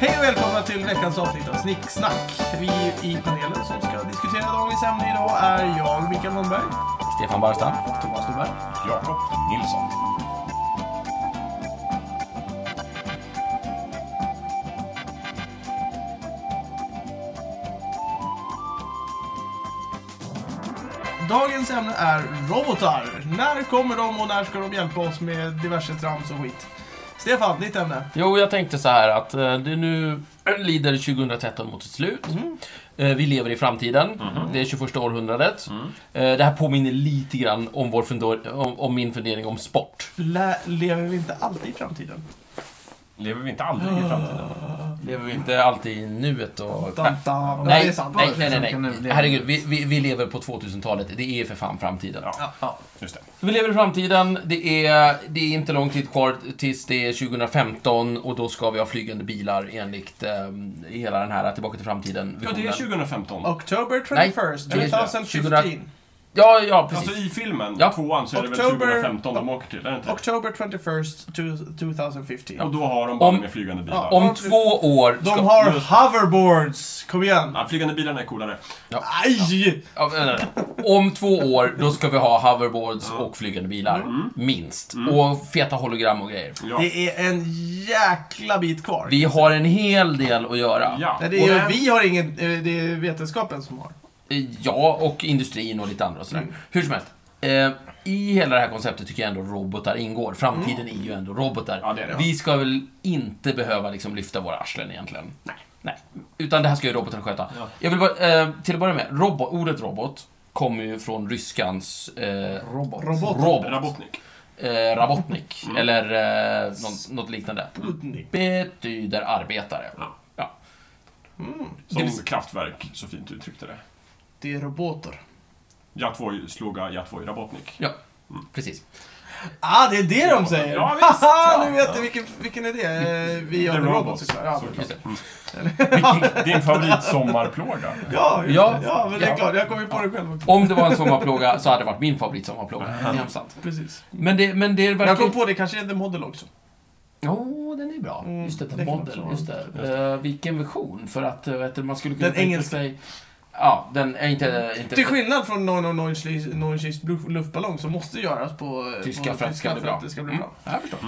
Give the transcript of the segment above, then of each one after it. Hej och välkomna till veckans avsnitt av Snicksnack. Vi i panelen som ska diskutera dagens ämne idag är jag, Mikael Holmberg, Stefan Barstam. Thomas Norberg. Jakob Nilsson. Dagens ämne är robotar. När kommer de och när ska de hjälpa oss med diverse trams och skit? Stefan, ditt ämne. Jo, jag tänkte så här att eh, det nu lider 2013 mot sitt slut. Eh, Vi lever i framtiden. Det är 21 århundradet. Eh, Det här påminner lite grann om, vår fundor- om, om min fundering om sport. Lä- lever vi inte alltid i framtiden? Lever vi inte aldrig i framtiden? Lever vi inte alltid i nuet och... Dam, dam. Ja, det är Nej, sant. nej, nej, nej, nej. Herregud, vi, vi, vi lever på 2000-talet. Det är för fan framtiden. Ja, Ja. just det. Vi lever i framtiden, det är, det är inte lång tid kvar tills det är 2015 och då ska vi ha flygande bilar enligt eh, hela den här Tillbaka till framtiden Ja, det är 2015. October Nej, 31st, det är- 2015. Ja, ja, Alltså precis. i filmen, Ja. tvåan, så är det väl Oktober- 2015 de åker till, är det inte? October 21st, two- 2015. Och då har de bara Om- med flygande Ja. bilar. Om två år ska... De har hoverboards! Kom igen! Ja, flygande bilarna är coolare. Aj! Ja, nej, nej, nej. Om två år, då ska vi ha hoverboards och flygande bilar. Minst. Och feta hologram och grejer. Ja. Det är en jäkla bit kvar. Vi har en hel del att göra. Ja. Nej, det är, Och- vi har ingen, eh, det är vetenskapen som har. Ja, och industrin och lite andra och sådär. Mm. Hur som helst. Eh, I hela det här konceptet tycker jag ändå robotar ingår. Framtiden är ju ändå robotar. Mm. Ja, det är det. Vi ska väl inte behöva liksom lyfta våra arslen egentligen. Nej. Nej. Utan det här ska ju robotarna sköta. Ja. Jag vill bara, eh, till att börja med, robo- ordet robot kommer ju från ryskans eh, Robot. robot. Rabotnik. Eh, rabotnik, Mm. eller eh, något, något liknande. Robotnik. Betyder arbetare. Ja. Ja. Som Det vill- Kraftwerk så fint uttryckte det. Det är roboter. Jag tvoj sloga, jag tvoj Rabotnik. ja. Mm. Precis. Ah, det är det de säger! Ja, visst. Haha, nu Ja. vet du vilken, vilken är det? Eh, Vi gör The en robot Robots. såklart. Ja, Såklart. Just det. Vilken- Din favoritsommarplåga. ja, ja, Ja. ja, men det är Ja. klart. Jag kommer ju på det själv också. Om det var en sommarplåga så hade det varit min favoritsommarplåga. Det är hemskt sant. Precis. Men det, men det verkar... Jag kom på det, kanske är The Model också. Ja, den är bra. Mm, Just det, det den kan model. också Just det. Eh, vilken version. För att eh, vet du, man skulle kunna Den tänka engelska. sig... Ja, den är inte... inte Till skillnad från någon och någon Schlies- någon Schlies luft- luftballong som måste göras på eh, Tyska på för att det ska bli bra. Mm, det ska bli bra. Mm. Ja, jag förstår.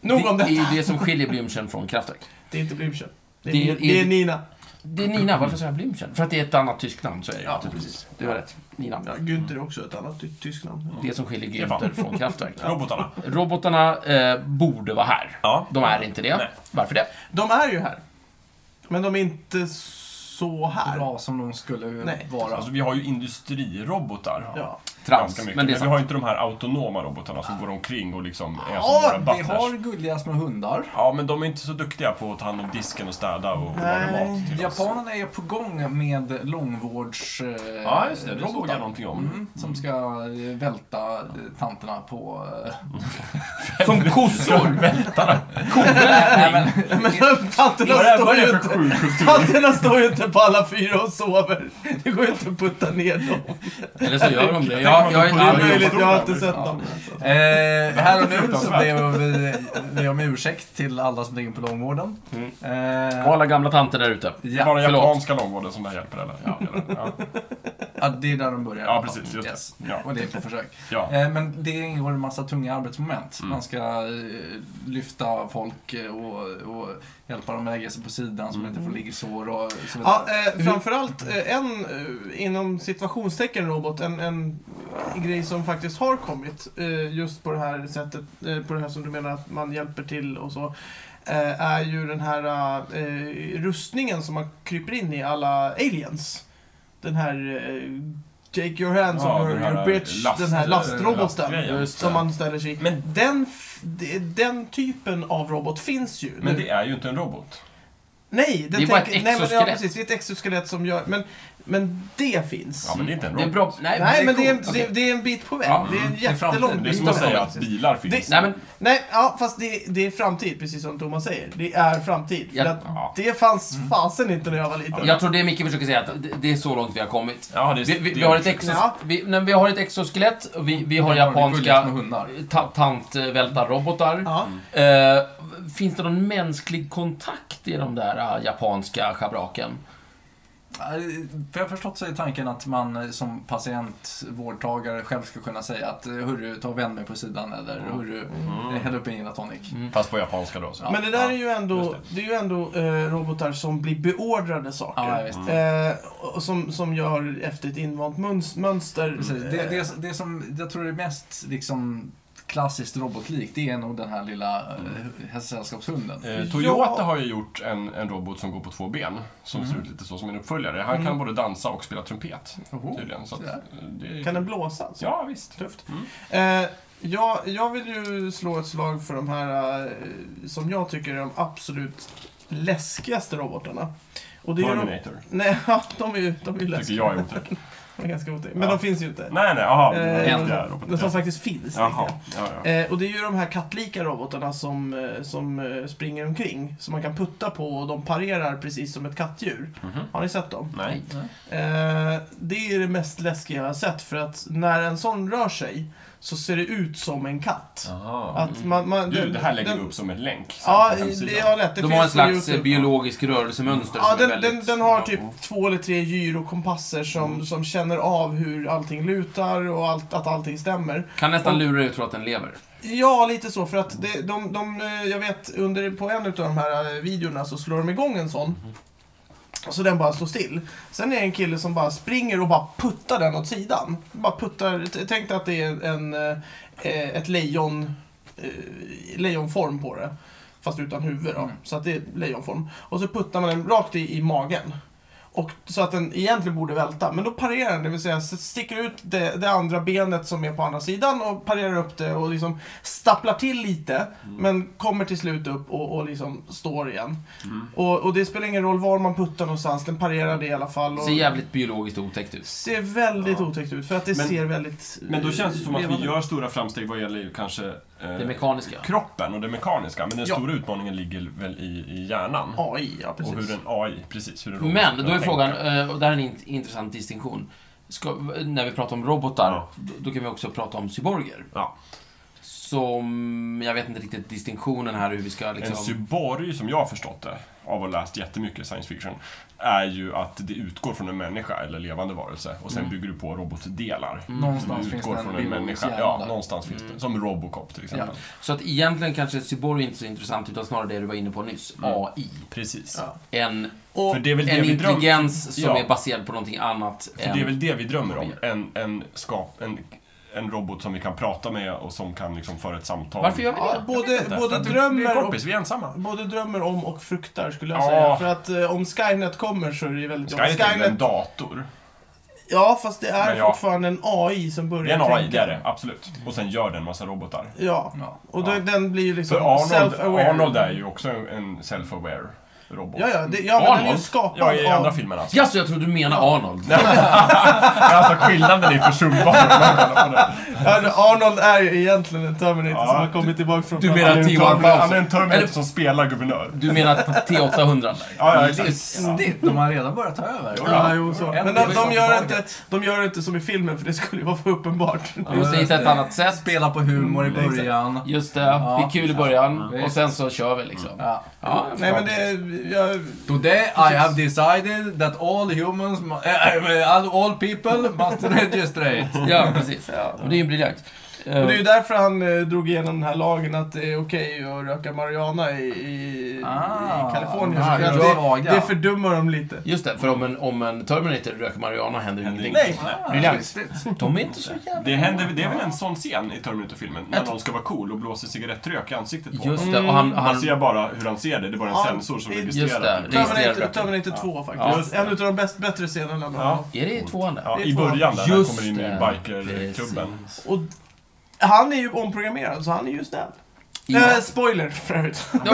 Nog om det. Det detta. är det som skiljer Blümchen från Kraftwerk. Det är inte Blümchen. Det är, Det det, är- är Nina. Det är Nina. Varför säger jag Blümchen? För att det är ett annat tyskt namn, så är det ju. Ja, precis. Du har rätt. Nina. Ja, Günther är också ett annat ty- tyskt namn. Det som skiljer Det är fan. Günther från Kraftwerk. Robotarna. Robotarna eh, borde vara här. Ja. De är inte det. Nej. Varför det? De är ju här. Men de är inte så här. bra som de skulle Nej. vara. Alltså vi har ju industrirobotar. Ja. Ah. Trams. Ganska mycket. Men det är vi sant. har ju inte de här autonoma robotarna som går omkring och liksom är Ja, som våra Vi butlers. har gulliga små hundar. Ja, men de är inte så duktiga på att ta hand om disken och städa och laga Nej. mat till oss. Japanerna är på gång med långvårds... eh, Ja, just det. Det såg robotar. jag någonting om. Mm, som ska eh, välta eh, tanterna på... eh, Som kossor! Nej, men- Men tanterna Vad är, står, vad ju är det för inte, sjuk kultur? tanterna står ju inte på alla fyra och sover. Det går ju inte att putta ner dem. Eller så gör de det. Jag- Jag, jag är Det är Ja, möjligt, jag har inte ja. sett dem. Eh, här och nu så ber vi, vi om ursäkt till alla som ligger på långvården. Och Eh, alla gamla tanter där ute. Det är bara ja, förlåt. japanska långvården som det här hjälper, eller? Ja, eller? Ja. ja, det är där de börjar. i Ja, alla fall. precis, just det. Yes. Ja. Och det är på försök. ja. Eh, Men det ingår en massa tunga arbetsmoment. Man ska eh, lyfta folk eh, och, och hjälpa dem att lägga sig på sidan så de inte får liggsår och så vidare. Ja, eh, framförallt eh, en, eh, inom situationstecken robot, en, en grej som faktiskt har kommit eh, just på det här sättet, eh, på det här som du menar att man hjälper till och så, eh, är ju den här eh, rustningen som man kryper in i alla aliens. Den här eh, Take your hands Ja, on den her, här your bitch, last- den här lastroboten. lastgrejen. Just som det. man ställer sig i. Men- den, f- de- den typen av robot finns ju Men nu. det är ju inte en robot. Nej, den Det är bara ett tänker- nej, men, ja, exoskelett. precis, det är ett exoskelett som gör... Men Men det finns. Ja, men det är inte en Det är rock. bra. Nej, Nej, men det det är, coolt. Okej. det, det är en bit på väg. Ja, det är en det är framtid. jättelång Det är bit som att på väg. säga att bilar finns. Nej, men Nej, ja, fast det, det är framtid, precis som Thomas säger. Det är framtid. För Ja. Ja. att det fanns fasen inte när jag var liten. jag tror det Micke försöker säga, att det- det är så långt vi har kommit. Ja, det är, Vi, vi, det vi, är har ett otroligt. exos, Ja. vi, nej, vi har ett exoskelett, och vi, vi har Ja, det är gulligt med eh, japanska hundar. ta, tantvältarrobotar. Ja. Eh, finns det någon mänsklig kontakt i de där eh, japanska schabraken? Eh, För jag har förstått så är tanken att man eh, som patient, vårdtagare själv ska kunna säga att eh, hörru, ta och vänd mig på sidan eller hörru, eh, häll upp en gin och tonic. Fast på japanska då. Så. Ja. Men det där är ju just ändå, det. det. är ju ändå eh, robotar som blir beordrade saker. Ja, visst. Eh, och som, som gör efter ett invant möns- mönster. Precis. Det, Eh, det, det som jag tror är mest liksom, klassiskt robotlikt, det är nog den här lilla eh, hästsällskapshunden. Eh, Toyota Ja. har ju gjort en, en robot som går på två ben, som ser Mm. ut lite så som en uppföljare. Han kan både dansa och spela trumpet, Oh, Oho. tydligen. Så att, eh, Sådär. det är... Kan den blåsa? alltså? Ja, visst. Tufft. Mm. Eh, jag, jag vill ju slå ett slag för de här eh, som jag tycker är de absolut läskigaste robotarna. Och det är ju de, Terminator, nej, ja, de är ju, de är ju tycker läskiga. jag är otäck. nej, De är ganska otäcka. Men Ja. de finns ju inte. nej, jaha. Eh, det en. är roboten. De som faktiskt finns. tänker Jaha, jag. ja, ja. Eh, och det är ju de här kattlika robotarna som, eh, som eh, springer omkring. Som man kan putta på och de parerar precis som ett kattdjur. Mhm. Har ni sett dem? Nej. Eh, det är det mest läskiga jag har sett. För att när en sån rör sig så ser det ut som en katt. Jaha. Att man, man, Mm. Du, den- det här lägger den- vi upp som en länk. sen Ja, på det hemsidan. har lätt. Det De har en finns typ- på slags eh, YouTube. biologisk rörelsemönster Ja, som den, är väldigt... den, den har typ två eller tre gyrokompasser som, Mm. som känner av hur allting lutar och allt, att allting stämmer. Kan nästan lura dig att tro att den lever. Ja, lite så. För att det, de, de, eh, jag vet, under, på en av de här eh, videorna så slår de igång en sån. Så den bara står still. Sen är det en kille som bara springer och bara puttar den åt sidan. Bara puttar, t- tänk dig att det är en, eh, ett lejon, eh, lejonform på det. Fast utan huvud då. Mm. Så att det är lejonform. Och så puttar man den rakt i, i magen. Och, så att den egentligen borde välta. Men då parerar den, det vill säga s- sticker ut det, det andra benet som är på andra sidan och parerar upp det och liksom stapplar till lite. Mm. Men kommer till slut upp och, och liksom står igen. Mm. Och, och det spelar ingen roll var man puttar någonstans, den parerar det i alla fall. Och Ser jävligt biologiskt otäckt ut. ser väldigt otäckt ut, för att det Men- ser väldigt... Men då eh, känns det som att vi levande ut. gör stora framsteg vad gäller ju kanske Det eh, mekaniska. kroppen och det mekaniska. Men den Ja. stora utmaningen ligger väl i, i hjärnan. AI, ja precis. Och hur en AI, precis. Hur en robot Men, ska då är tänka. frågan, eh, och det här är en int- intressant distinktion. Ska, när vi pratar om robotar, Ja. då, då kan vi också prata om cyborger. Ja. Som, jag vet inte riktigt distinktionen här hur vi ska En liksom... cyborg, som jag har förstått det, av att ha läst jättemycket science fiction, är ju att det utgår från en människa eller levande varelse och sen bygger du på robotdelar. Någonstans Du finns utgår det en från en biologisk människa. hjärna Ja, där. någonstans finns det. Som Robocop till exempel. Så att egentligen kanske cyborg är inte så intressant, utan snarare det du var inne på nyss. AI. Precis. Ja. En, Och, För Mm. det är väl det en vi drömmer intelligens som Ja. är baserad på någonting annat För än... det är väl det vi drömmer om. En, en, skap, en, en robot som vi kan prata med och som kan liksom föra ett samtal. Varför gör vi det? ja, vet både, inte. både, Vi är drömmer och, kompis, vi är ensamma. både drömmer om och fruktar skulle jag Ja. säga. För att eh, om Skynet kommer så är det ju väldigt Skynet är väl en dator? Ja, fast det är Men ja. fortfarande en AI som börjar Det är en AI, det tänka. är det. Absolut. Och sen gör den massa robotar. Ja, Ja. och då, Ja. den blir ju För liksom Arnold, self-aware. Arnold är ju också en- en self-aware robot. Ja, ja, det, ja men den är ju Arnold? skapad Ja, i andra av... filmen alltså. Jaså, jag trodde du menade Arnold. alltså skillnaden är försumbar. Ja, Arnold är ju egentligen en Terminator Ja, som har du- kommit tillbaka från... du menar Han är en T-1000. Terminator- han är en Terminator Eller- som spelar guvernör. Du menar T800 där. Ja, ja, exakt. Listigt! De har redan börjat ta över. Jo, Ja, jo, så. En Men de, del de, av gör laget. inte, de gör inte som i filmen, för det skulle ju vara för uppenbart. Vi måste hitta ett annat sätt. Spela på humor i Mm, exakt. början. Just det, Ja. det är kul i början Mm. och sen så kör vi liksom. Ja. Ja, jag Nej, förstår. men det... Jag, Today I have decided that all humans, mu- eh, all all people must registrate. Ja, precis. Men det är ju briljant. och det är ju därför han eh, drog igenom den här lagen att det är okej att röka marijuana i, i, Ah, i Kalifornien. ja, För att ja. det, det fördummar dem lite. Just det, för om en, om en Terminator röker marijuana händer Händer ingenting. Nej. Briljant. Listigt. De är inte så jävla... Det, händer, det är väl en sån scen i Terminator-filmen, när någon ska vara cool och blåser cigarettrök i ansiktet på honom. Just det, och han... Man han ser bara hur han ser det, det är bara en Ja, sensor som det- just registrerar. typ. det, registrerar Terminator, röken. Terminator 2 Ja, faktiskt. just det. en av de bäst, bättre scenerna. med Ja. honom. Är det i tvåan där? Ja, Det är I två. början där, när han Just kommer in i det. bikerklubben. Och han är ju omprogrammerad, så han är ju snäll. Eh, spoiler för övrigt.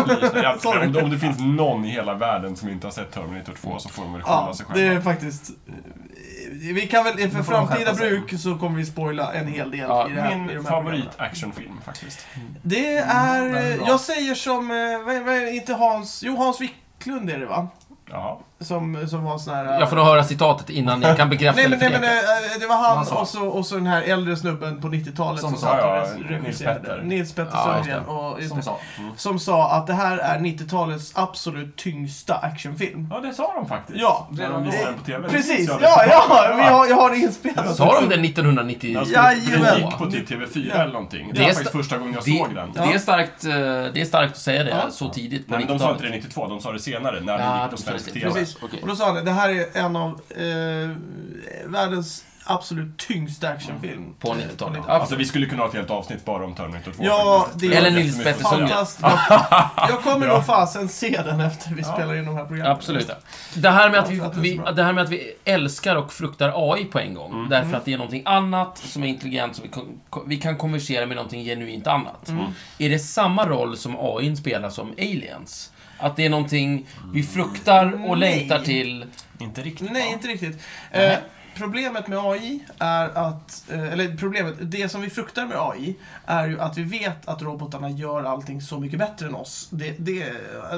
Jag, Sorry. om, om det finns någon i hela världen som inte har sett Terminator 2 så får de väl skylla Ja, sig det själva. är faktiskt... eh, Vi kan väl, inför Nu får de framtida skärpa sig. bruk så kommer vi spoila en hel del Ja, i det här, i de Min här programmen. favorit-actionfilm faktiskt. Det är... Mm, den är bra. jag säger som... eh, Vad, är- vad, är- inte Hans... Jo, Hans Wiklund är det va? Jaha. Som, som var sån här... eh, Jag får nog höra citatet innan jag kan bekräfta Nej men, nej, eller men förneka. eh, det var han Vad sa han? och så, och så den här äldre snubben på 90-talet som, Som satt sa, ja, och Nils regisserade. Petter. Nils Petter Ja, just Sundgren. det. och, just Som det, sa. som sa att det här är 90-talets absolut tyngsta actionfilm. Ja, det sa de faktiskt. Ja. När de visade den på TV. Precis, Jag ja, visste. ja, vi har, jag har det eh, inspelat. Sa de det 1990? Den Ja, skulle- den gick på jajamän. typ TV4 eller någonting. Det Det var är faktiskt sta- första gången jag Det, såg den. det, är starkt, eh, det är starkt att säga det Ja. så tidigt på Nej, men de sa inte det 90-talet. 92, de sa det senare, när Ja, det gick på de sa svensk det TV. senare. Precis. Okej. Och då sa han det, det här är en av eh, världens absolut tyngsta actionfilm. På 90-talet. Ja, Ja, Alltså vi skulle kunna ha ett helt avsnitt bara om Terminator 2. Ja, faktiskt. det- har Eller Nils jättemycket Pettersson. att säga. Fantastiskt. Jag kommer nog fasen se den efter vi Ja. spelar in de här programmen. Absolut. Det här, med att vi, Ja, det är vi, så bra. Mm. det här med att vi älskar och fruktar AI på en gång, därför att det är någonting annat som är intelligent, som vi, kon- ko- vi kan konversera med någonting genuint annat. Mm. Är det samma roll som AI spelar som aliens? Att det är någonting vi fruktar och Mm. Nej. längtar till? Inte riktigt. Nej, inte riktigt. Eh, problemet med AI är att, eh, eller problemet, det som vi fruktar med AI är ju att vi vet att robotarna gör allting så mycket bättre än oss. Det, det,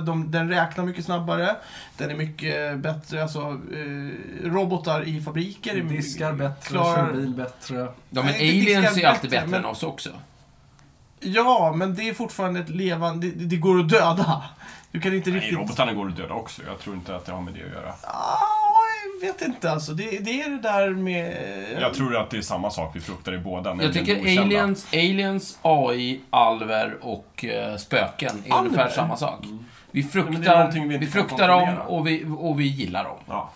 de, den räknar mycket snabbare, den är mycket bättre, alltså eh, robotar i fabriker är mycket- Diskar bättre, klarar- kör bil bättre. Ja, men Nej, det diskar aliens är ju alltid bättre, bättre men- än oss också. Ja, men det är fortfarande ett levande, det, det går att döda. Du kan inte Nej, riktigt... robotarna går att döda också. Jag tror inte att det har med det att göra. Ah, jag vet inte alltså. Det, det är det där med... Jag tror att det är samma sak vi fruktar i båda. Jag nämligen det tycker okända. aliens, aliens, AI, alver och eh, spöken är Alver? Mm. ungefär samma sak. Vi men det är fruktar, någonting vi vi inte kan fruktar dem kontrollera. och vi, och vi gillar dem. Ja.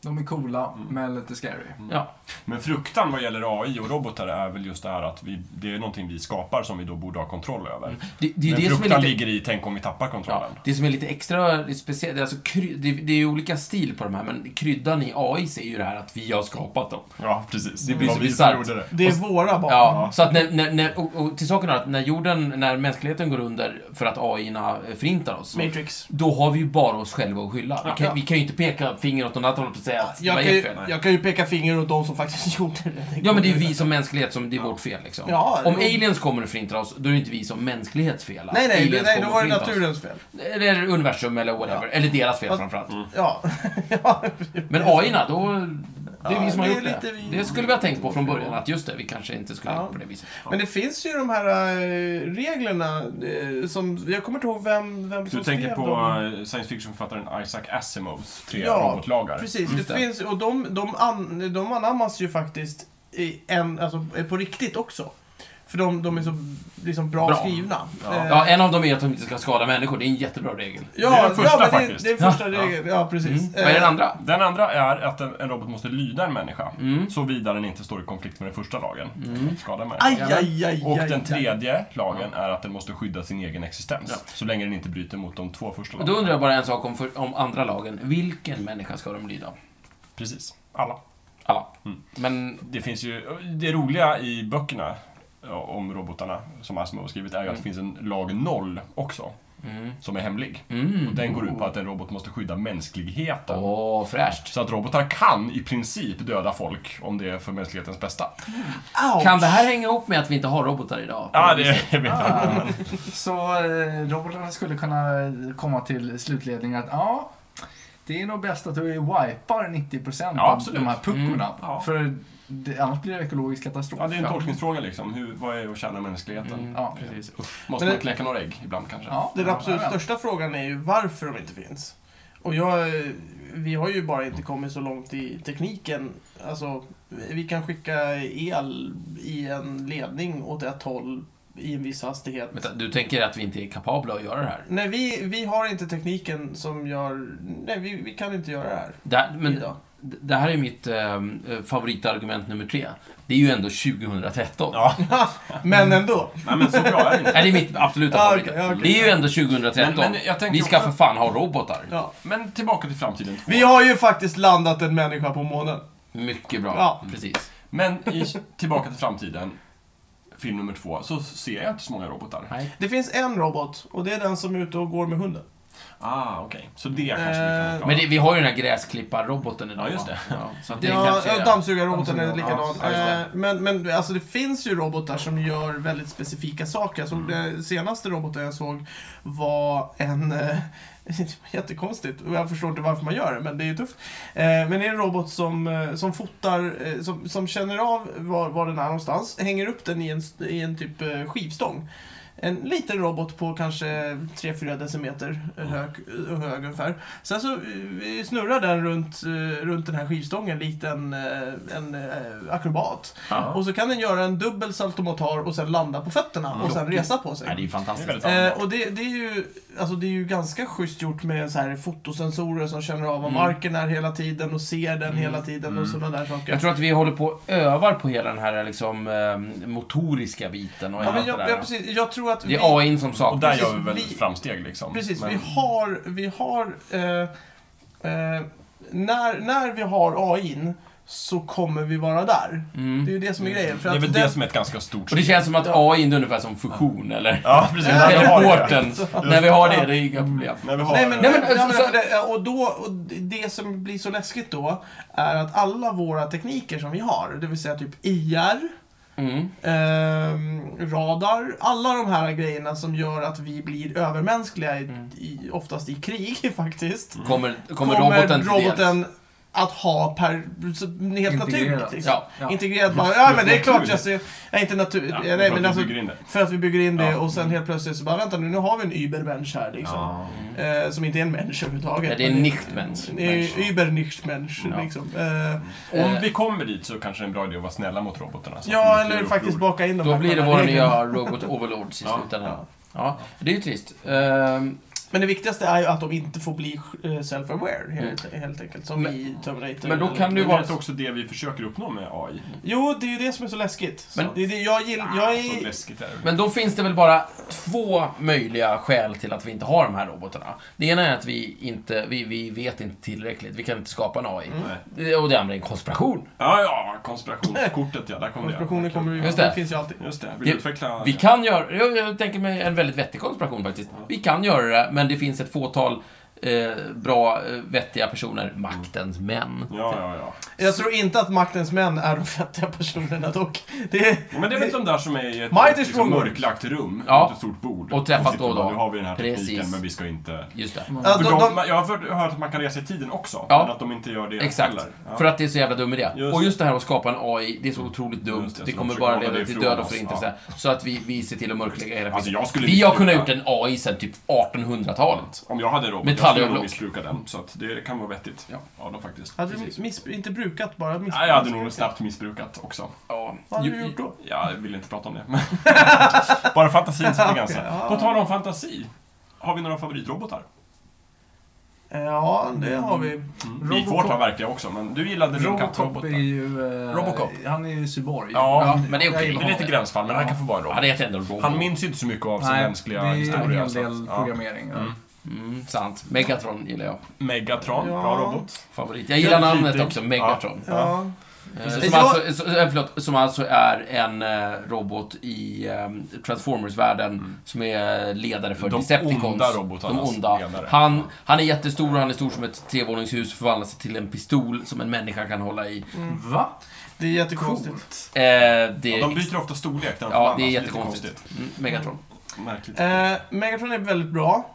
De är coola, men lite scary. Ja. Men fruktan vad gäller AI och robotar är väl just det här att vi, det är någonting vi skapar som vi då borde ha kontroll över. Det, Mm. det är Men det som är fruktan lite ligger i, tänk om vi tappar Ja, kontrollen. det som är lite extra det är speciellt, det är alltså, kry, det, det är ju olika stil på de här, men kryddan i AI är ju det här att vi har skapat dem. Ja, precis. Det blir Vad så vi bisarrt. gjorde det. Det är våra barn. Ja, så att när, när, när, och, och till saken är att när jorden, när mänskligheten går under för att AI förintar oss, Matrix. då har vi ju bara oss själva att skylla. Vi kan, vi kan ju inte peka finger åt något annat håll och säga att Alltså, det var Jag kan, ert ju, fel. jag kan ju peka finger åt de som faktiskt gjorde det. Ja, men det är ju vi som mänsklighet som, det är vårt fel liksom. Ja, Om jo. aliens kommer och förintar oss, då är det inte vi som mänsklighets fel. att Nej, nej, nej, aliens nej kommer då och var det förintar oss. naturens fel. Eller universum eller whatever. Eller deras fel Ja. Mm. framförallt. Ja. ja. Men AI-na, då... Det är Ja, vi som har det är gjort det. lite vi- Det skulle vi ha tänkt på från början, att just det, vi kanske inte skulle ha gjort på det viset. Men det finns ju de här eh, reglerna eh, som... Jag kommer inte ihåg vem, vem som Du tänker skrev på dem. eh, science fiction-författaren Isaac Asimovs tre Ja, robotlagar. Precis, Just det, det. finns... Och de, de, an, de anammas ju faktiskt i en, alltså, på riktigt också. För de, de är så liksom, bra, Bra. skrivna. Ja. Eh, Ja, en av dem är att de inte ska skada människor. Det är en jättebra regel. ja, Det är den första ja, men faktiskt. Det, det är första Ja. regeln, ja precis. Mm. Vad är den Eh, andra? Den andra är att en, en robot måste lyda en människa, Mm. såvida den inte står i konflikt med den första lagen. Att Skada en människa. Eh, Aj, aj, aj, aj, Och den aj. tredje lagen är att den måste skydda sin egen existens, så länge den inte bryter mot de två första Och Då lagarna. undrar jag bara en sak om, för, om andra lagen. Vilken människa ska de lyda? Precis, alla. Alla. Mm. Men... Det finns ju, det roliga i böckerna ja, om robotarna som Asimov har skrivit är ju att det finns en lag 0 också, Mm. som är hemlig. Mm. Och den går ut på att en robot måste skydda mänskligheten. Åh, fräscht. Så att robotar kan i princip döda folk om det är för mänsklighetens bästa. Ouch. Kan det här hänga ihop med att vi inte har robotar idag? Ja, det vet jag inte. Ah. Så eh, robotarna skulle kunna komma till slutledningen att ja, det är nog bäst att du wipar 90% Ja, av absolut. de här puckorna. Mm, ja. För det, annars blir det ekologisk katastrof. Ja, det är en Ja. tolkningsfråga liksom. Hur, vad är att tjäna mänskligheten? Mm. Ja. Precis. Måste Men man det- kläcka några ägg ibland kanske? Ja, Den ja, absolut ja. största frågan är ju varför de inte finns. Och jag, vi har ju bara inte kommit så långt i tekniken. Alltså, vi kan skicka el i en ledning åt ett håll i en viss hastighet. Vänta, Du tänker att vi inte är kapabla att göra det här? Nej, vi, vi har inte tekniken som gör... Nej, vi, vi kan inte göra det här. Det här, men, idag. d- det här är mitt ehm, eh, favoritargument nummer tre. Det är ju ändå 2013. Ja. Men ändå. Nej, men så bra är det inte. Nej, det är mitt absoluta Ja, favorit. okej, ja, okej. Det är ju ändå 2013. Men- men jag tänker vi ska också- för fan ha robotar. Ja. Men tillbaka till framtiden 2. Vi har ju faktiskt landat en människa på månen. Mycket bra. Mm. Ja. Precis. Men i, tillbaka till framtiden. film nummer två så ser jag inte så många robotar. Nej. Det finns en robot och det är den som är ute och går med hunden. Ah, okej. Så det kanske vi Eh, kan Men förklara. det, vi har ju den här gräsklipparroboten idag. Ja, just det. va? Ja, så att det Ja, kanske är- ja, dammsugarroboten är Dammsugar- likadan. ja, just det. Eh, Men, men alltså, det finns ju robotar som gör väldigt specifika saker. Mm. Alltså, Den senaste roboten jag såg var en... eh, Jättekonstigt, och jag förstår inte varför man gör det, men det är ju tufft. Eh, Men det är en robot som, eh, som fotar, eh, som, som känner av var, var den är någonstans, hänger upp den i en, i en typ eh, skivstång. En liten robot på kanske 3-4 decimeter hög, hög ungefär. Sen så eh, snurrar den runt, eh, runt den här skivstången likt en, eh, en eh, akrobat. Ja. Och så kan den göra en dubbel saltomortar och sen landa på fötterna och sen resa på sig. Ja, det är ju fantastiskt. Det är väldigt Eh, och det, det, är ju, alltså det är ju ganska schysst gjort med så här fotosensorer som känner av Mm. vad marken är hela tiden och ser den hela tiden och sådana där saker. Jag tror att vi håller på och övar på hela den här liksom, eh, motoriska biten ja, och men allt det jag, där. jag, precis, jag tror att Det vi- är AI som Och saknas. där gör vi väl Precis, vi- framsteg liksom. Precis, Men- vi har... Vi har eh, eh, när, när vi har AIn så kommer vi vara där. Mm. Det är ju det som är grejen. För Det är att väl den- det som är ett ganska stort Och det steg. känns som att AI är ungefär som fusion, eller? Ja, precis. När vi har det. Mm. Teleporten. När vi har det, det är inga problem. När vi har Nej men, det. Nej, men, ja, men alltså, för det, och, då, och det som blir så läskigt då är att alla våra tekniker som vi har, det vill säga typ IR, Mm. ehm, radar, alla de här grejerna som gör att vi blir övermänskliga, i, Mm. i, oftast i krig faktiskt. Kommer, kommer, roboten till roboten del? att ha per, så- helt naturligt. Integrerat. Liksom. Ja. Ja. Integrerat bara, ja men det är klart Naturligt. Jesse, nej inte naturligt, Ja, nej för att men vi alltså, bygger in det. för att vi bygger in det Ja. och sen helt plötsligt så bara vänta nu, nu har vi en übermensch här liksom. Ja. Eh, som inte är en människa överhuvudtaget. Ja, det är en Nichtmensch. Det är übernichtmensch, Ja. liksom. Mm. Eh, Eh, Om vi kommer dit så kanske det är en bra idé att vara snälla mot robotarna. så att ja, de inte eller gör faktiskt uppror. baka in dem Då här blir det själva vår reglerna. nya Robot Overlords i Ja. slutändan. Ja. Ja, det är ju trist. Ehm, Men det viktigaste är ju att de inte får bli eh, self-aware, helt, helt enkelt. Som Mm. Men- i Terminator. men då eller- Men kan du det är vara... inte också det vi försöker uppnå med AI. Jo, det är ju det som är så läskigt. Men- Men... Det är det jag gillar. Jag Så är... läskigt är det. Men då finns det väl bara två möjliga skäl till att vi inte har de här robotarna. Det ena är att vi inte, vi, vi vet inte tillräckligt, vi kan inte skapa en AI. Nej. Det- Och det andra är en konspiration. Ja, ja, konspirationskortet ja, där kom Konspirationer det. kommer ju... Just det. Det finns ju alltid. Just det, vill Det- du utveckla? Vi kan göra, jag, jag tänker mig en väldigt vettig konspiration faktiskt. Vi kan göra det, men det finns ett fåtal eh, bra, eh, vettiga personer, maktens män. Ja, ja, ja. Jag tror inte att maktens män är de fettiga personerna dock. Det är... Men det är väl de där som är i ett Might is wrong. liksom, mörklagt rum, Ja. runt ett stort bord. Och träffas sitter då och då. man, Nu har vi den här Precis. tekniken, men vi ska inte... Just det. Ja, För de, de, de... jag har hört- jag har hört att man kan resa i tiden också, Ja. men att de inte gör det Exakt. heller. Ja. För att det är så jävla dum idé. Just och det. Mm. just det här att skapa en AI, det är så otroligt dumt. Just det, det, så de kommer försöker bara hålla leda det till ifrån död och oss, förintelse. Så att vi, vi ser till att mörklägga hela Alltså, jag skulle Vi har kunnat gjort missbruka- en AI sedan typ 1800-talet. Om jag hade en robot, Metall- jag skulle block. nog missbruka den. Så att det kan vara vettigt. Ja. ja då faktiskt. Hade Precis. du miss... inte brukat, bara missbrukat? Nej, jag hade nog snabbt missbrukat också. Ja. Vad hade ju- du gjort då? Jag vill inte prata om det. men- Bara fantasin sätter gränser. På tal om fantasi. Har vi några favoritrobotar? Ja, det har vi. Mm. Vi får ta verkliga också, men du gillade din kattrobot. Robocop är där. ju... eh, Robocop. Han är ju cyborg. Ja, Han- men det är jag okej. Det gillar är lite honom. gränsfall, men han kan få vara en Ja, robot. det är ändå robot. Han minns inte så mycket av sin Nej, mänskliga det är en historia. hel så del att- ja. programmering. Ja. Mm, sant. Megatron gillar jag. Megatron, Ja. bra robot. Favorit. Jag gillar namnet Flitig. också, Megatron. Ja. Eh, Som, Jag- alltså, så- eh, förlåt, som alltså är en eh, robot i eh, Transformers-världen som är eh, ledare för Mm. De Decepticons. onda robotarnas De onda. ledare. Han, han är jättestor och han är stor som ett trevåningshus förvandlas till en pistol som en människa kan hålla i. Va? Mm. Det är jättekonstigt. Eh, det är, Ja, de byter ofta storlek när de ja, förvandlas. det är lite jättekonstigt. Mm, Megatron. konstigt. Märkligt. Eh, Megatron är väldigt bra.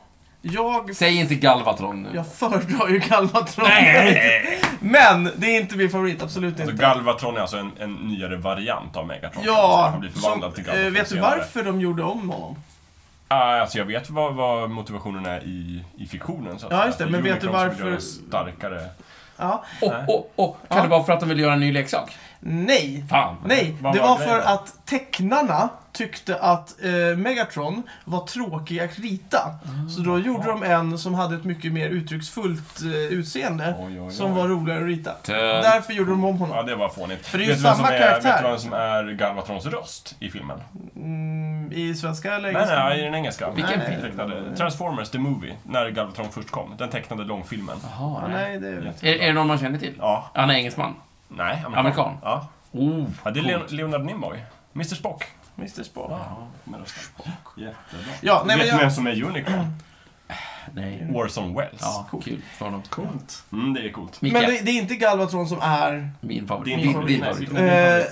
Jag, Säg inte Galvatron nu. jag föredrar ju Galvatron. Nej! Men det är inte min favorit, absolut Alltså, inte. Galvatron är alltså en, en nyare variant av Megatron. kan man säga. Ja, han blir som, förvandlad till Galvatron eh, vet du senare. varför de gjorde om honom? Ah, alltså jag vet vad, vad motivationen är i, i fiktionen så att Ja, säga. just det, Att men Unicron vet du som vill varför- göra det starkare. Ja. Och, och, och, kan det vara för att de vill göra en ny leksak? Nej. Fan. Nej, Vad det var var grejen för då? att tecknarna tyckte att eh, Megatron var tråkig att rita. Så Ah. då gjorde de en som hade ett mycket mer uttrycksfullt eh, utseende. Oj, oj, oj. Som var roligare att rita. Tönt. Därför gjorde de om honom. Ja, det var fånigt. För det är ju vet du vem som samma är, karaktär. Vet du vem som är Galvatrons röst i filmen? Mm, I svenska eller Nej, engelska? nej, i den engelska. Vilken Den film? Tecknade, Transformers The Movie, när Galvatron först kom. Den tecknade långfilmen. Jaha, Ja, nej. nej, det är Jättebra. Är, är det någon man känner till? Ja. Han är engelsman. Nej, amerikan. Amerikan. Ja. Oh, ja, det är coolt. Leon- Leonard Nimoy. Mr Spock. Mr Spock. Ja, men då ska- Jättebra. Ja, nej, Vet men du jag- vem som är Unicorn? Nej. Mm. Orson Welles. Ja, kul för honom. Coolt. Mm, det är coolt. Micke, Men det, det är inte Galvatron som är... min favorit. Din Min, favorit. Din favorit. Eh,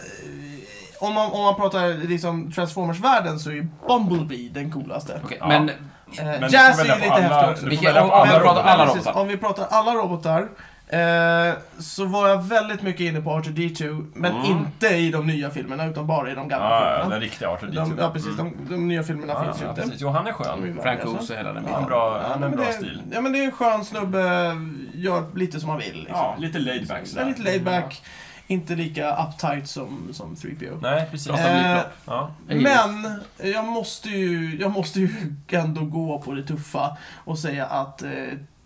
om, man, om man pratar liksom Transformers-världen så är ju Bumblebee den coolaste. Okej, Ja. men Eh, Men du får Jazz är välja ju på lite alla- häftig också. du får Vilka- välja på om- om alla vi pratar robotar. alla robotar. Precis, om vi pratar alla robotar eh, så var jag väldigt mycket inne på R2D2, men Mm. inte i de nya filmerna utan bara i de gamla Ja, ja, filmerna. den riktiga Arthur De, ja, precis. De, de nya filmerna Ja, finns ju ja, inte. precis. Jo, han är De är ju skön. Frank värdelösa. Oz och hela den Han har biten. en bra, han har men en bra det, stil. Ja, men det är en skön snubbe, gör lite som han vill. Liksom. Ja, lite laid back Den är lite laid back, inte lika uptight som, som 3PO. Nej, precis. Pratar Eh, mitt Ja. Jag gillar Men jag måste, ju, jag måste ju ändå gå på det tuffa och säga att eh,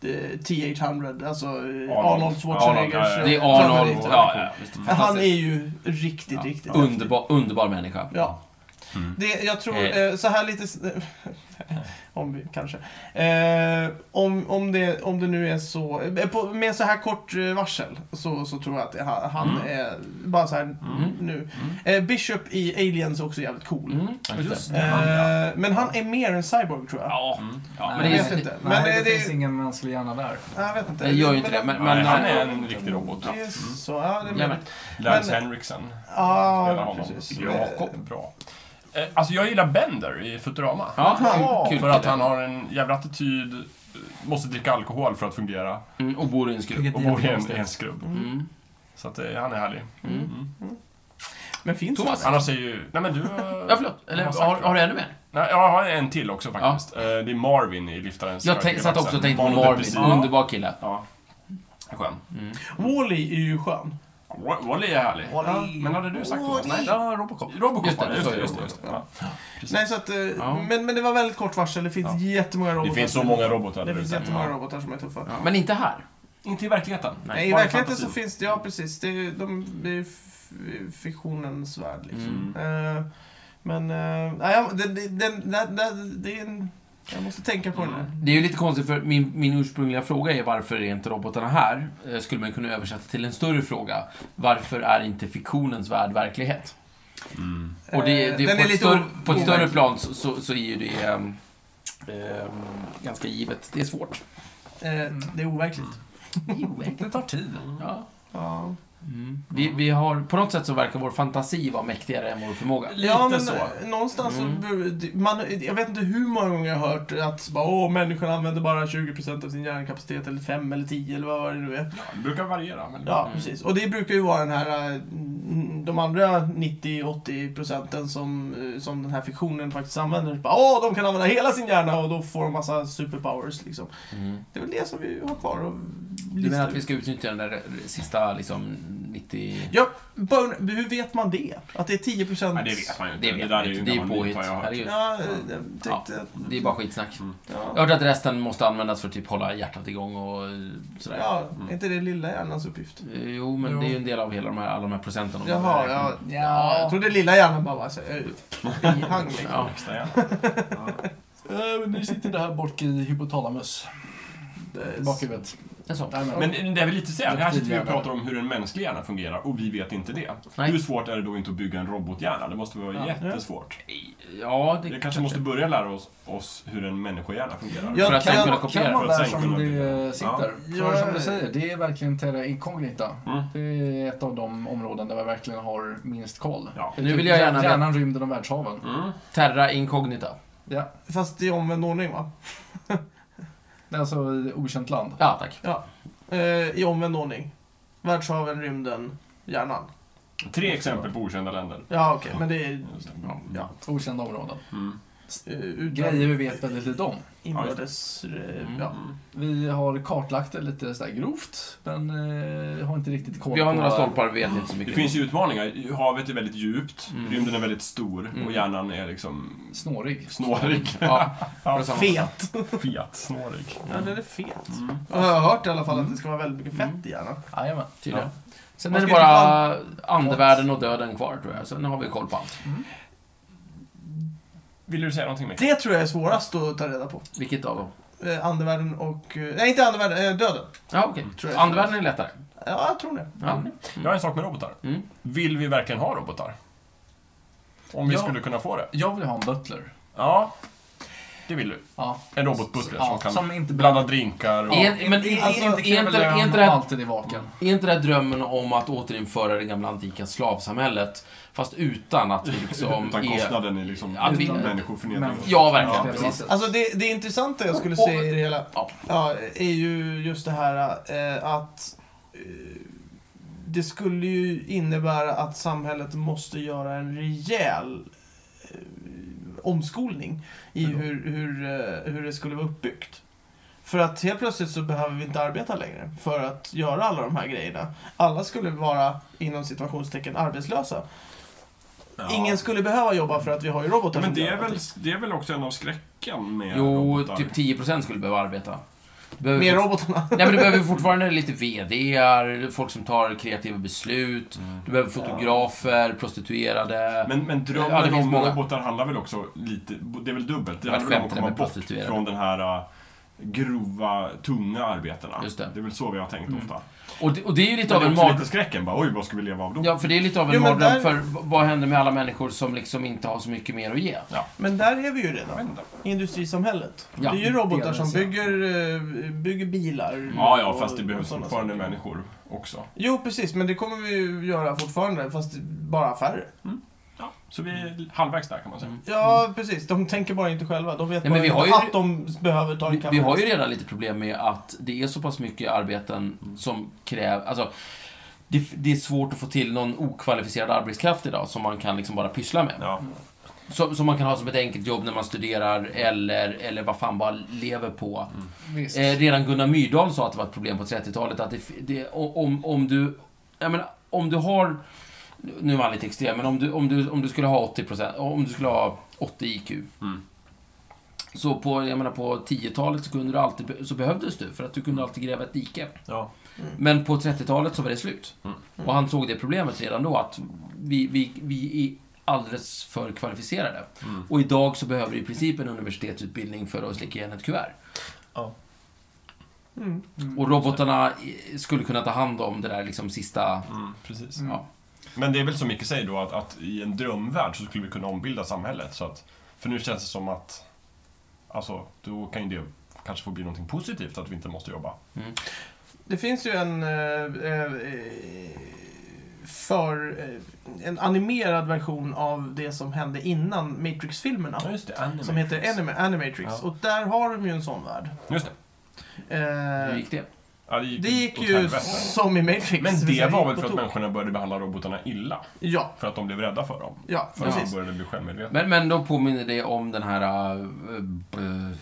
eh, T-800, alltså Arnold, Arnold Schwarzeneggers... Arnold, Det eh, är Arnold. favorit. Ja, ja, visst. Han är Fantastisk. ju riktigt, riktigt häftig. Underbar, underbar människa. Ja. Mm. Det, jag tror, Eh. eh, så här lite... s- om vi, kanske. Eh, om, om, det, om det nu är så... eh, På, med så här kort eh, varsel så, så tror jag att det- han, han Mm. är bara så här nu. Eh, Bishop i Aliens är också jävligt cool. Mm. Ja, Just det. Han, ja. Eh, men han är mer en cyborg tror jag. Ja, Mm. ja, jag men det vet är, inte. Men Nej, det, det, det, finns ingen mänsklig hjärna där. jag vet inte. det gör ju inte det, men... men Nej, han är eh, en riktig robot. Det är så, ja, det är Jajamän. möjligt. Lance Men- Henriksen spelar Ja, honom. precis. Ja, bra. Eh, Alltså jag gillar Bender i Futurama. Ja, kul för att kille. han har en jävla attityd, eh, måste dricka alkohol för att fungera mm, och bor i en skrubb. Vilket och bor i en, jättekonstigt. en skrubb. Mm. Så att, eh, han är härlig. Mm. Mm. Men finns Thomas. det? Annars är ju... Nej men du... eh, Ja, förlåt. Eller, har sagt har, det. har du ännu mer? Nej, jag har en till också faktiskt. Eh, Det är Marvin i Liftarens Jag tänk, satt också och tänkte på Barnet är Marvin. precis- Underbar kille. Ja. Skön. Wall-E är ju skön. Wa- Wally är härlig. Wall-E. Ja, Men hade du sagt Wally? Nej, Ja, Robocop. Robocop Just det, var det. Just så det, är just det. det. Just det. Ja. Nej, så att, eh, Ja. men, men det var väldigt kort varsel. Det finns Ja. jättemånga robotar. Det finns så som- många robotar där Det finns ute. jättemånga Ja. robotar som är tuffa. Ja, Men inte här. Inte i verkligheten. Nej, I Bara verkligheten så fantasin. finns det, ja precis. Det är, ju- de, det är ju f- fiktionens värld liksom. Mm. Eh, men, eh, nej, jag- det, det, det, det, det, det är en... Jag måste tänka på den här. Det är ju lite konstigt, för min, min ursprungliga fråga är varför är inte robotarna här? Eh, Skulle man kunna översätta till en större fråga. Varför är inte fiktionens värld verklighet? Mm. Och det, Eh, det, den på, är ett lite större, o- på ett större overklig. plan så, så, så är ju det ehm, ehm, ganska givet. Det är svårt. Eh, det är overkligt. Det tar tid. Ja. Ja. Mm. Vi, vi har, på något sätt så verkar vår fantasi vara mäktigare än vår förmåga. Lite ja, men så. eh, någonstans Mm. så... bu- Man, jag vet inte hur många gånger jag har hört att bara, Åh, människan använder bara 20% av sin hjärnkapacitet, eller 5 eller 10 eller vad var det nu är. Ja, det brukar variera. Men... Ja, Mm. precis. Och det brukar ju vara den här, eh, de andra 90-80 procenten som, eh, som den här fiktionen faktiskt använder. Bara, Åh, de kan använda hela sin hjärna och då får de massa superpowers liksom. Det är väl det som vi har kvar och Du menar att vi ska utnyttja den där sista liksom 90... Ja, bara- hur vet man det? Att det är 10 procent? Nej, det vet man ju inte. Det vet där man är ju inte. Det är gammal myt, påhitt. har jag hört. Herregud. Ja, eh, jag tyckte Ja. att... Det är bara skitsnack. Jag Ja. hörde att resten måste användas för att typ hålla hjärtat igång och eh, sådär. Ja, är inte det lilla hjärnans uppgift? Eh, Jo, men Jo. det är ju en del av hela de här, alla de här procenten. de Jaha, har ja. räknat. ja. Jag trodde lilla hjärnan bara var så här, eh, bihang liksom. ja. Extra, ja. Nu Eh, sitter det här bort i hypotalamus. Det är- Bakhuvudet. Det är så. Nej, men- Men det är väl lite så här, här sitter vi och Reptilhjärna. pratar om hur en mänsklig hjärna fungerar och vi vet inte det. Nej. Hur svårt är det då inte att bygga en robothjärna? Det måste vara jättesvårt. Ja, det Vi kanske måste börja lära oss, oss hur en människohjärna fungerar. Ja. För att Kan- sen kunna kan Kan kopiera. vara För att där sen kunna som bygga. det sitter. Ja. För som du säger, det är verkligen terra incognita. Mm. Det är ett av de områden där vi verkligen har minst koll. Ja. Det är Nu typ vill jag gärna Hjärnan, rymden och världshaven. Mm. Terra incognita. Ja. Fast i omvänd ordning va? Det är alltså i okänt land. Ja, tack. Eh, I omvänd ordning. Världshaven, rymden, hjärnan. Tre exempel på okända länder. Ja, okej, men det är Just det. Ja. ja, Okända områden. Mm. eh, utan Grejer vi vet väldigt lite om. inbördes... eh, Ja. Mm. Vi har kartlagt det lite sådär grovt, men eh, har inte riktigt koll Vi har på... några stolpar, vi vet inte så Det mycket. finns ju utmaningar. Havet är väldigt djupt, Mm. rymden är väldigt stor Mm. och hjärnan är liksom Snårig. snårig. Ja, Ja. detsamma. Fet! Fet, snårig. Ja, den är fet. Mm. Jag har hört i alla fall att det ska vara väldigt mycket fett i hjärnan. Jajamän. Tydligen. Sen Man är det ska inte bara andevärlden och döden kvar, tror jag. Sen har vi koll på allt. Vill du säga någonting mer? Det tror jag är svårast att ta reda på. Vilket av dem? Eh, Andevärlden och... eh, Nej, inte andevärlden, eh, döden. Ja, okej. Tror jag. Andevärlden är lättare. Ja, jag tror det. Ja. Jag har en sak med robotar. Mm. Vill vi verkligen ha robotar? Om vi Ja. skulle kunna få det. Jag vill ha en butler. Ja, det vill du. Ja. En robotbutler Ja, som kan som inte blanda drinkar och... Är- men är- Alltså, är- inte kräver är- är- lön inte det- och alltid är vaken. Är inte det här drömmen om att återinföra det gamla antika slavsamhället, fast utan att vi liksom Utan är... kostnaden i liksom Att vi- människoförnedring. Men- Ja, verkligen. Ja, precis. Alltså det, det intressanta jag skulle säga i det hela Ja. ja, är ju just det här eh, att eh, det skulle ju innebära att samhället måste göra en rejäl eh, omskolning i hur, hur, eh, hur det skulle vara uppbyggt. För att helt plötsligt så behöver vi inte arbeta längre för att göra alla de här grejerna. Alla skulle vara, inom situationstecken arbetslösa. Ja. Ingen skulle behöva jobba för att vi har ju robotar Ja, som men det gör är, väl, allting. det är väl också en av skräcken med Jo, robotar? typ 10% skulle behöva arbeta. Behöver Med fort- robotarna. Nej, men du behöver fortfarande lite VDar, folk som tar kreativa beslut. Du behöver fotografer, prostituerade. Mm. Men, men drömmen Ja, det finns om många. robotar handlar väl också lite, det är väl dubbelt. Det Jag handlar väl om att skämtar komma med bort prostituerade. från den här äh, grova, tunga arbetena. Just det. Mm. är väl så vi har tänkt ofta. Och, det, och det är ju lite Men av det är en också mardröm. lite skräcken bara, oj vad ska vi leva av då? Ja, för det är lite av en Jo, men mardröm där- för v- vad händer med alla människor som liksom inte har så mycket mer att ge? Men där är vi ju redan. Jag vet inte. industrisamhället. Ja, det är ju robotar delvis, som ja. bygger, eh, bygger bilar. Ja, ja, och- fast det behövs och sådana fortfarande saker. människor också. Jo, precis, men det kommer vi ju göra fortfarande, fast bara färre. Ja, så vi är halvvägs där kan man säga. Mm. Ja, precis. De tänker bara inte själva. De vet Nej, bara men vi inte har ju- att de behöver ta en Vi, kaffe. vi har ju redan lite problem med att det är så pass mycket arbeten som krävs... Alltså, det, det är svårt att få till någon okvalificerad arbetskraft idag som man kan liksom bara pyssla med. Ja. Som, som man kan ha som ett enkelt jobb när man studerar eller, eller vad fan bara lever på. Visst. Eh, redan Gunnar Myrdal sa att det var ett problem på 30-talet. Att det, det, om, om du... Jag menar, om du har... Nu var han lite extrem, men om du, om du, om du skulle ha 80%, om du skulle ha 80 IQ. Mm. Så på, jag menar, på 10-talet så, kunde du alltid, be- så behövdes du, för att du kunde alltid gräva ett dike. Ja. Men på 30-talet så var det slut. Mm. Och han såg det problemet redan då, att vi, vi, vi är alldeles för kvalificerade. Mm. Och idag så behöver vi i princip en universitetsutbildning för att slicka igen ett kuvert. Mm. Och robotarna eh, skulle kunna ta hand om det där liksom sista... Mm, precis. Mm. Ja. Men det är väl som Micke säger då att, att i en drömvärld så skulle vi kunna ombilda samhället. Så att, för nu känns det som att, alltså då kan ju det kanske få bli någonting positivt att vi inte måste jobba. Mm. Det finns ju en... eh, eh, för eh, en animerad version av det som hände innan Matrix-filmerna. just det. Som heter Anima- Animatrix. Ja. Och där har de ju en sån värld. Just det. Eh, Hur gick det? Ja, det gick, Det gick åt ju helvete. som i Matrix. Men vill säga, det var väl på för att tok. människorna började behandla robotarna illa. Ja, För att de blev rädda för dem. ja, För att de precis. började bli självmedvetna. Men, men då påminner det om den här... eh, eh,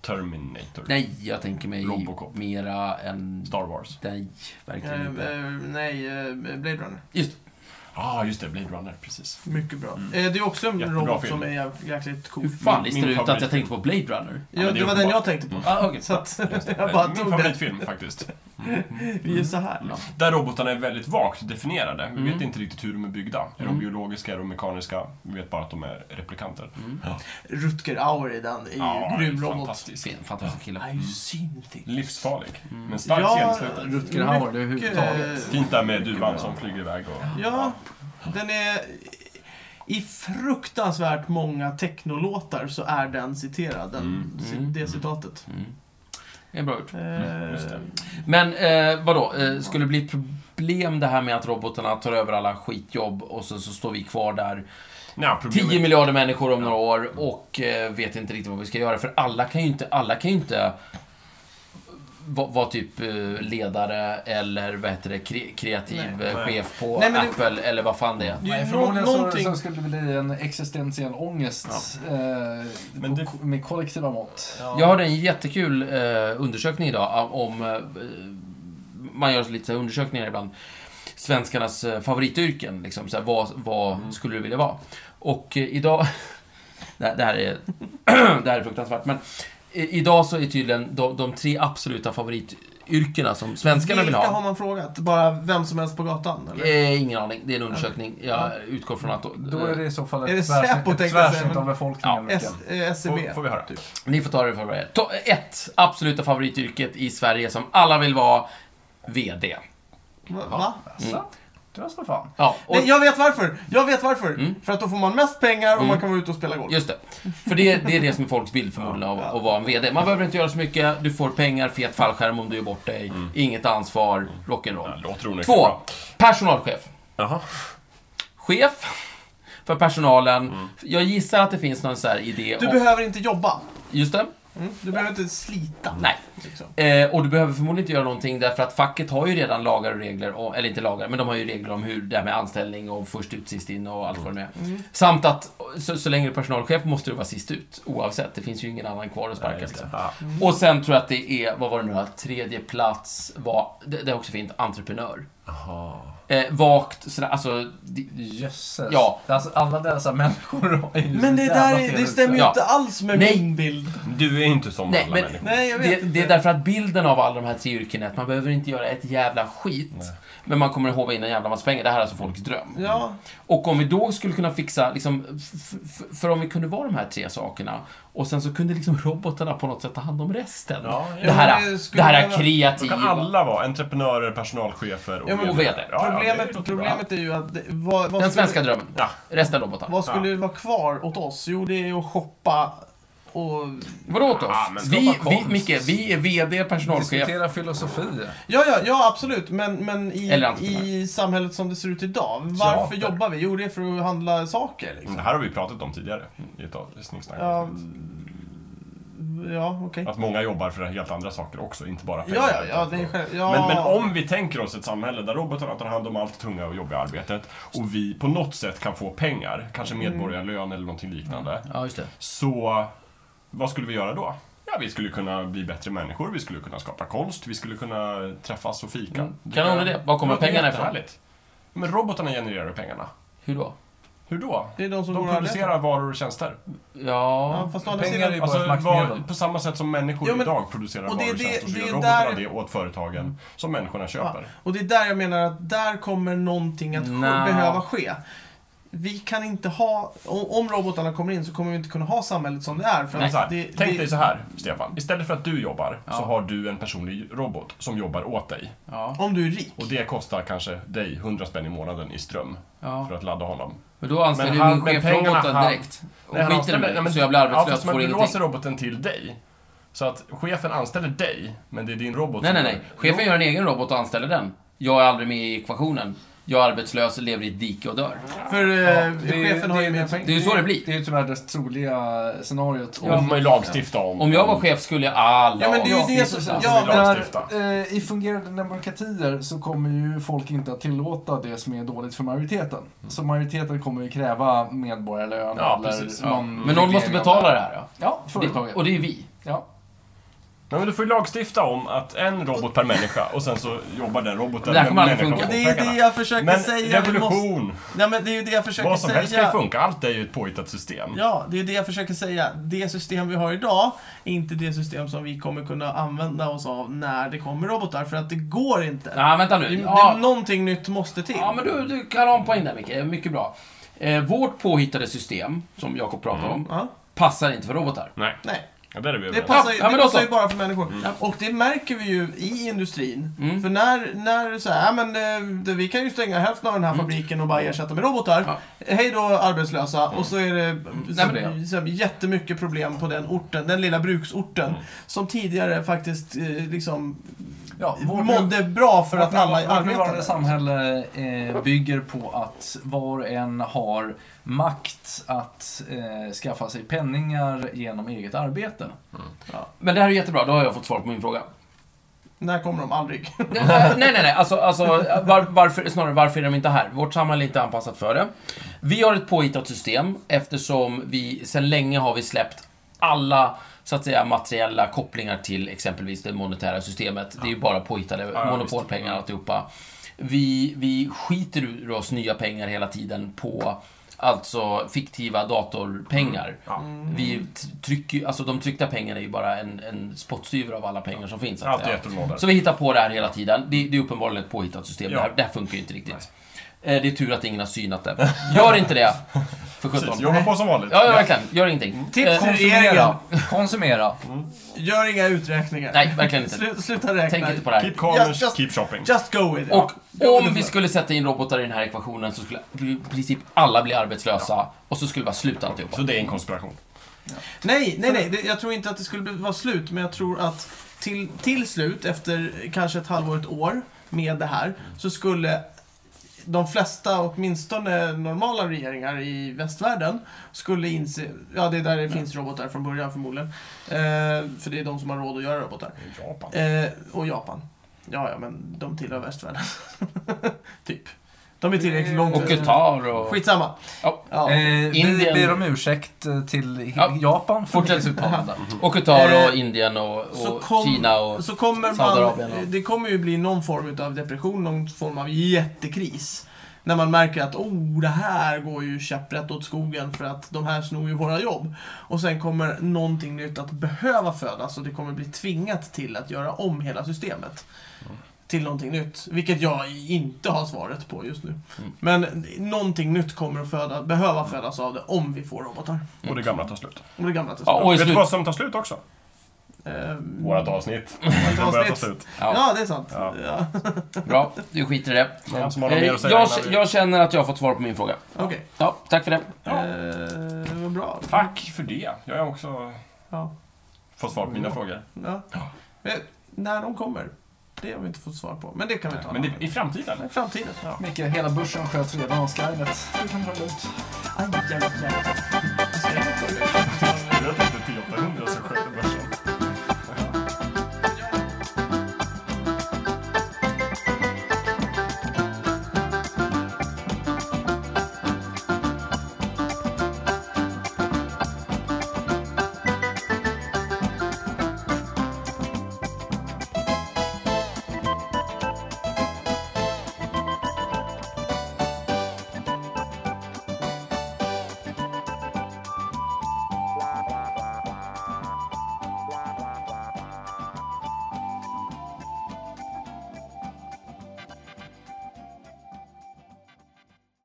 Terminator. nej, jag tänker mig Robocop. mera än... Star Wars. Nej, verkligen Eh, inte. eh, nej, eh, Blade Runner. Just Ja, ah, just det. Blade Runner. Precis. Mycket bra. Mm. Eh, det är också en Jättebra robot film. som är jäk- jäkligt cool. Hur fan Min- listar du min ut att jag favorit. tänkte på Blade Runner? Ja, men det det, är var den uppenbart. jag tänkte på. Mm. Ah, okej. Så att Just det. jag bara Min tog den. favoritfilm faktiskt. Vi är så här. Ja. Där robotarna är väldigt vagt definierade. Vi Mm. vet inte riktigt hur de är byggda. Är Mm. de biologiska, är de mekaniska? Vi vet bara att de är replikanter. Mm. Rutger Auer i den är ju grym robot. fantastisk. Fin- Fantastisk kille. Nej, syndig. Livsfarlig, Mm. men stark Ja. ja. sceneslut. Rutger Hauer, det är överhuvudtaget. Mycket, Fint där med duvan som flyger iväg och... Ja, den är... I fruktansvärt många technolåtar så är den citerad, den, Mm. ci- det citatet. Mm. Det är bra gjort. Eh, just det. Men eh, vadå, eh, skulle det bli ett problem det här med att robotarna tar över alla skitjobb och så, så står vi kvar där Nej, 10 problemet... miljarder människor om några år och eh, vet inte riktigt vad vi ska göra. För alla kan ju inte, alla kan ju inte va- vara typ eh, ledare eller vad heter det, kre- kreativ Nej. eh, chef på Nej, men det- Apple eller vad fan det är. Det är Nej, ju förmodligen nå- så, någonting... så skulle det bli en existentiell ångest eh, Men det- på- med kollektiva mått. Jag hörde en jättekul eh, undersökning idag av- om... Eh, man gör lite så här undersökningar ibland. Svenskarnas eh, favorityrken, liksom. Så här, vad vad Mm. skulle du vilja vara? Och eh, idag... det, här- det, här är, det här är fruktansvärt, men... i- Idag så är tydligen de, de tre absoluta favorityrkena som svenskarna vill Vilka ha. har man frågat? Bara vem som helst på gatan? Eller? Eh, ingen aning, det är en undersökning. Jag utgår från att... Då är det i så fall Är det ett Säpo, tvärsnitt- ett tänkte jag säga, tvärsnitt men- av befolkningen. S, verkligen. eh, SCB. Får, får vi höra? Ni får ta det för vad det är. To- Ett absoluta favorityrket i Sverige som alla vill vara. VD. Va? Va? Mm. Dras för fan. Ja, och, Nej, jag vet varför! Jag vet varför! Mm. För att då får man mest pengar och Mm. man kan vara ute och spela golf. Just det. För det, det är det som är folks bild förmodligen av att vara en VD. Man behöver inte göra så mycket, du får pengar, fet fallskärm om du gör bort dig, inget ansvar, Mm. Ja, rock'n'roll. låter onekligen Två, bra. personalchef. Jaha. Chef för personalen. Mm. Jag gissar att det finns någon så här idé Du om... behöver inte jobba. Just det. Mm. Du behöver inte slita. Nej. Liksom. Eh, och du behöver förmodligen inte göra någonting därför att facket har ju redan lagar och regler, om, eller inte lagar, men de har ju regler om hur det här med anställning och först ut, sist in och allt vad det nu är. Mm. Samt att så, så länge du är personalchef måste du vara sist ut, oavsett. Det finns ju ingen annan kvar att sparka. Nej, liksom. exakt. Ja. Och sen tror jag att det är, vad var det nu då? tredje plats var, det, det är också fint, entreprenör. Jaha. Eh, vakt, sådär, alltså... Det, Jösses. Ja. Alltså, alla dessa människor är ju Men så det jävla där är, fel det stämmer ju Ja. inte alls med Nej. min bild. Du är inte som Nej, alla men- människor. Nej, jag vet det, inte. det är därför att bilden av alla de här tre yrkena är att man behöver inte göra ett jävla skit. Men man kommer att håva in en jävla massa pengar. Det här är alltså folks Mm. dröm. Ja. Och om vi då skulle kunna fixa, liksom, f- f- för om vi kunde vara de här tre sakerna och sen så kunde liksom robotarna på något sätt ta hand om resten. Ja, ja. det här, Ja, det det skulle här kunna- Då kreativa... kan alla vara entreprenörer, personalchefer och Ja, men- och VD. Ja, ja, det Problemet, låter bra. problemet är ju att... Det, vad, vad Den skulle- svenska drömmen. Ja. Resten robotar. Vad skulle vara kvar åt oss? Jo, det är ju att shoppa och... Vadå åt Ja, men oss? skapa Vi, vi, konst. Micke, vi är VD, personalchef. Diskutera filosofi. Ja, ja, ja absolut. Men, men i, Eller entreprenör. i samhället som det ser ut idag. Varför Teater. jobbar vi? Jo, det är för att handla saker. Liksom. Det här har vi pratat om tidigare i ett av- snicksnack. Ja, ja okej. Att många jobbar för helt andra saker också, inte bara pengar. Ja, ja, ja, det är själv... Ja. Men, men om vi tänker oss ett samhälle där robotarna tar hand om allt tunga och jobbiga arbetet och vi på något sätt kan få pengar, kanske Mm. medborgarlön eller någonting liknande. Ja, just det. Så vad skulle vi göra då? Ja, vi skulle kunna bli bättre människor, vi skulle kunna skapa konst, vi skulle kunna träffas och fika. Mm. Kanon idé. Var kommer Ja, det är pengarna ifrån? jättehärligt. Men robotarna genererar ju pengarna. Hur då? Hur då? Det är de som går De och arbetar. producerar varor och tjänster. Ja, Ja... fast å andra Pengar sidan... är ju Alltså, bara ett maktmedel. vad- på samma sätt som människor Ja, men- idag producerar och det är varor och det- tjänster så det är gör där- Mm. robotarna det åt företagen som människorna Ja. köper. Och det är där jag menar att där kommer någonting att ske- Nja. behöva ske. Vi kan inte ha... Om, om robotarna kommer in så kommer vi inte kunna ha samhället som det är. För Men att så här, det, tänk det, dig så här, Stefan. Istället för att du jobbar så har du en personlig robot som jobbar åt dig. ja. Om du är rik. Och det kostar kanske dig 100 spänn i månaden i ström Ja. för att ladda honom. Men då anställer Men ju han- min men chef pengarna roboten han- direkt. Och Nej, han skiter i anställer- mig, nej, men- så jag blir ja, arbetslös fast och får man ingenting. låser roboten till dig. Så att chefen anställer dig, men det är din robot Nej, som nej, nej. gör- Chefen gör en egen robot och anställer den. Jag är aldrig med i ekvationen. Jag är arbetslös, lever i ett dike och dör. För Ja, eh, det- chefen har det- ju mer Det är pengar. ju så det blir. Det är ju tyvärr det troliga scenariot. Det får man ju lagstifta om. Om jag var chef skulle jag alla Ja, men det är ju avsnitt det som... alltså. Ja, vill men, lagstifta. Där, eh, I fungerande demokratier så kommer ju folk inte att tillåta det som är dåligt för majoriteten. Mm. Så majoriteten kommer ju kräva medborgarlön Ja, eller precis. Ja. någon Men någon måste reglering av betala det här då. Ja, Det, företaget. och det är vi. Ja. Nej, men du får ju lagstifta om att en robot per människa och sen så jobbar den roboten Det här kommer aldrig människan funka. och får det är ju pengarna. det jag försöker Men säga. Vi måste, revolution, nej, men det är ju det jag försöker vad som säga. helst kan ju funka. Allt är ju ett påhittat system. Ja, det är det jag försöker säga. Det system vi har idag är inte det system som vi kommer kunna använda oss av när det kommer robotar, för att det går inte. Nej, vänta nu. Det, Ja, det, någonting nytt måste till. ja men du, du kan ha en poäng där Micke. Mycket bra. Eh, vårt påhittade system, som Jakob pratade om, Ja, passar inte för robotar. Nej, nej. ja, där är vi Det överens. passar, ju- Ja, men det då passar så. ju bara för människor. Och det märker vi ju i industrin. Mm. För när, när så här, ja, men eh, det, vi kan ju stänga hälften av den här fabriken och bara ersätta med robotar. Mm. Ja. Mm. Hej då arbetslösa. Och så är det Nej, men det- så, så, jättemycket problem på den orten, den lilla bruksorten. Mm. Som tidigare faktiskt eh, liksom Ja, vår- mådde bra för att alla Vårt nuvarande arbetade. samhälle eh, bygger på att var och en har makt att eh, skaffa sig penningar genom eget arbete. Men det här är jättebra, då har jag fått svar på min fråga. När kommer de? Aldrig. Nej, nej, nej. nej. Alltså, alltså, var, varför, snarare, varför är de inte här? Vårt samhälle är inte anpassat för det. Vi har ett påhittat system eftersom vi sedan länge har vi släppt alla så att säga materiella kopplingar till exempelvis det monetära systemet. Det är ju bara påhittade ja, monopolpengar och alltihopa. Vi, vi skiter ur oss nya pengar hela tiden på alltså fiktiva datorpengar. Mm. Ja. Vi t- trycker, ju- alltså de tryckta pengarna är ju bara en, en spottstyver av alla pengar som finns. så att Allt är säga. ettor och nollor. Så vi hittar på det här hela tiden. Det, det är uppenbarligen ett påhittat system. Ja. Det, här, det här funkar ju inte riktigt. Eh, Det är tur att ingen har synat den. Gör inte det! För Precis, Mm. 17. jobba på som vanligt. Ja, ja, verkligen. Gör ingenting. Tips Eh, till regeringen. Konsumera. Konsumera. Gör inga uträkningar. Nej, verkligen inte. Slu, sluta räkna. Tänk inte på det här. Keep calm Ja, and just- keep shopping. Just go with it. Och Go with om the vi flow. skulle sätta in robotar i den här ekvationen så skulle i princip alla bli arbetslösa och så skulle vi ha slut alltihopa. Så det är en konspiration. Nej, nej, nej. Det, jag tror inte att det skulle bli- vara slut, men jag tror att till, till slut, efter kanske ett halvår, ett år med det här, så skulle de flesta, åtminstone normala regeringar i västvärlden, skulle inse... Ja, det är där det finns robotar från början förmodligen. Eh, för det är de som har råd att göra robotar. Japan. Eh, och Japan. Ja, ja, men de tillhör västvärlden. typ. De är tillräckligt långt Och Qatar och... Skitsamma. Ja. Eh, vi Indien. ber om ursäkt eh, till Ja. Japan för Fortsätt. deras uttalande. Och Qatar och Eh, Indien och, så och kom- Kina och... Så kommer Saudiarabien man, och- det kommer ju bli någon form av depression, någon form av jättekris. När man märker att oh, det här går ju käpprätt åt skogen för att de här snor ju våra jobb. Och sen kommer någonting nytt att behöva födas och det kommer bli tvingat till att göra om hela systemet. Till någonting nytt, vilket jag inte har svaret på just nu. Mm. Men någonting nytt kommer att föda, behöva födas av det om vi får robotar. Och det gamla tar slut. Om det gamla tar Ja, och i Vet du slut... vad som tar slut också? Eh, Vårat avsnitt. Det börjar ta avsnitt. slut. Ja, Ja, det är sant. Ja. Ja. bra. Du skiter i det. Någon som har något Eh, mer att säga? Jag, innan vi- jag känner att jag har fått svar på min fråga. Okej. Ja, tack för det. Ja. Eh, det var bra. Tack för det. Jag har också Ja. fått svar på mina frågor. Ja. Men när de kommer, det har vi inte fått svar på. Men det kan vi ta Men en det, i framtiden. annan- i framtiden. Ja. Micke, hela börsen sköts redan av Skynet. Du kan dra lugnt. Aj, jävlar. Jag tänkte till 800 så sköter börsen.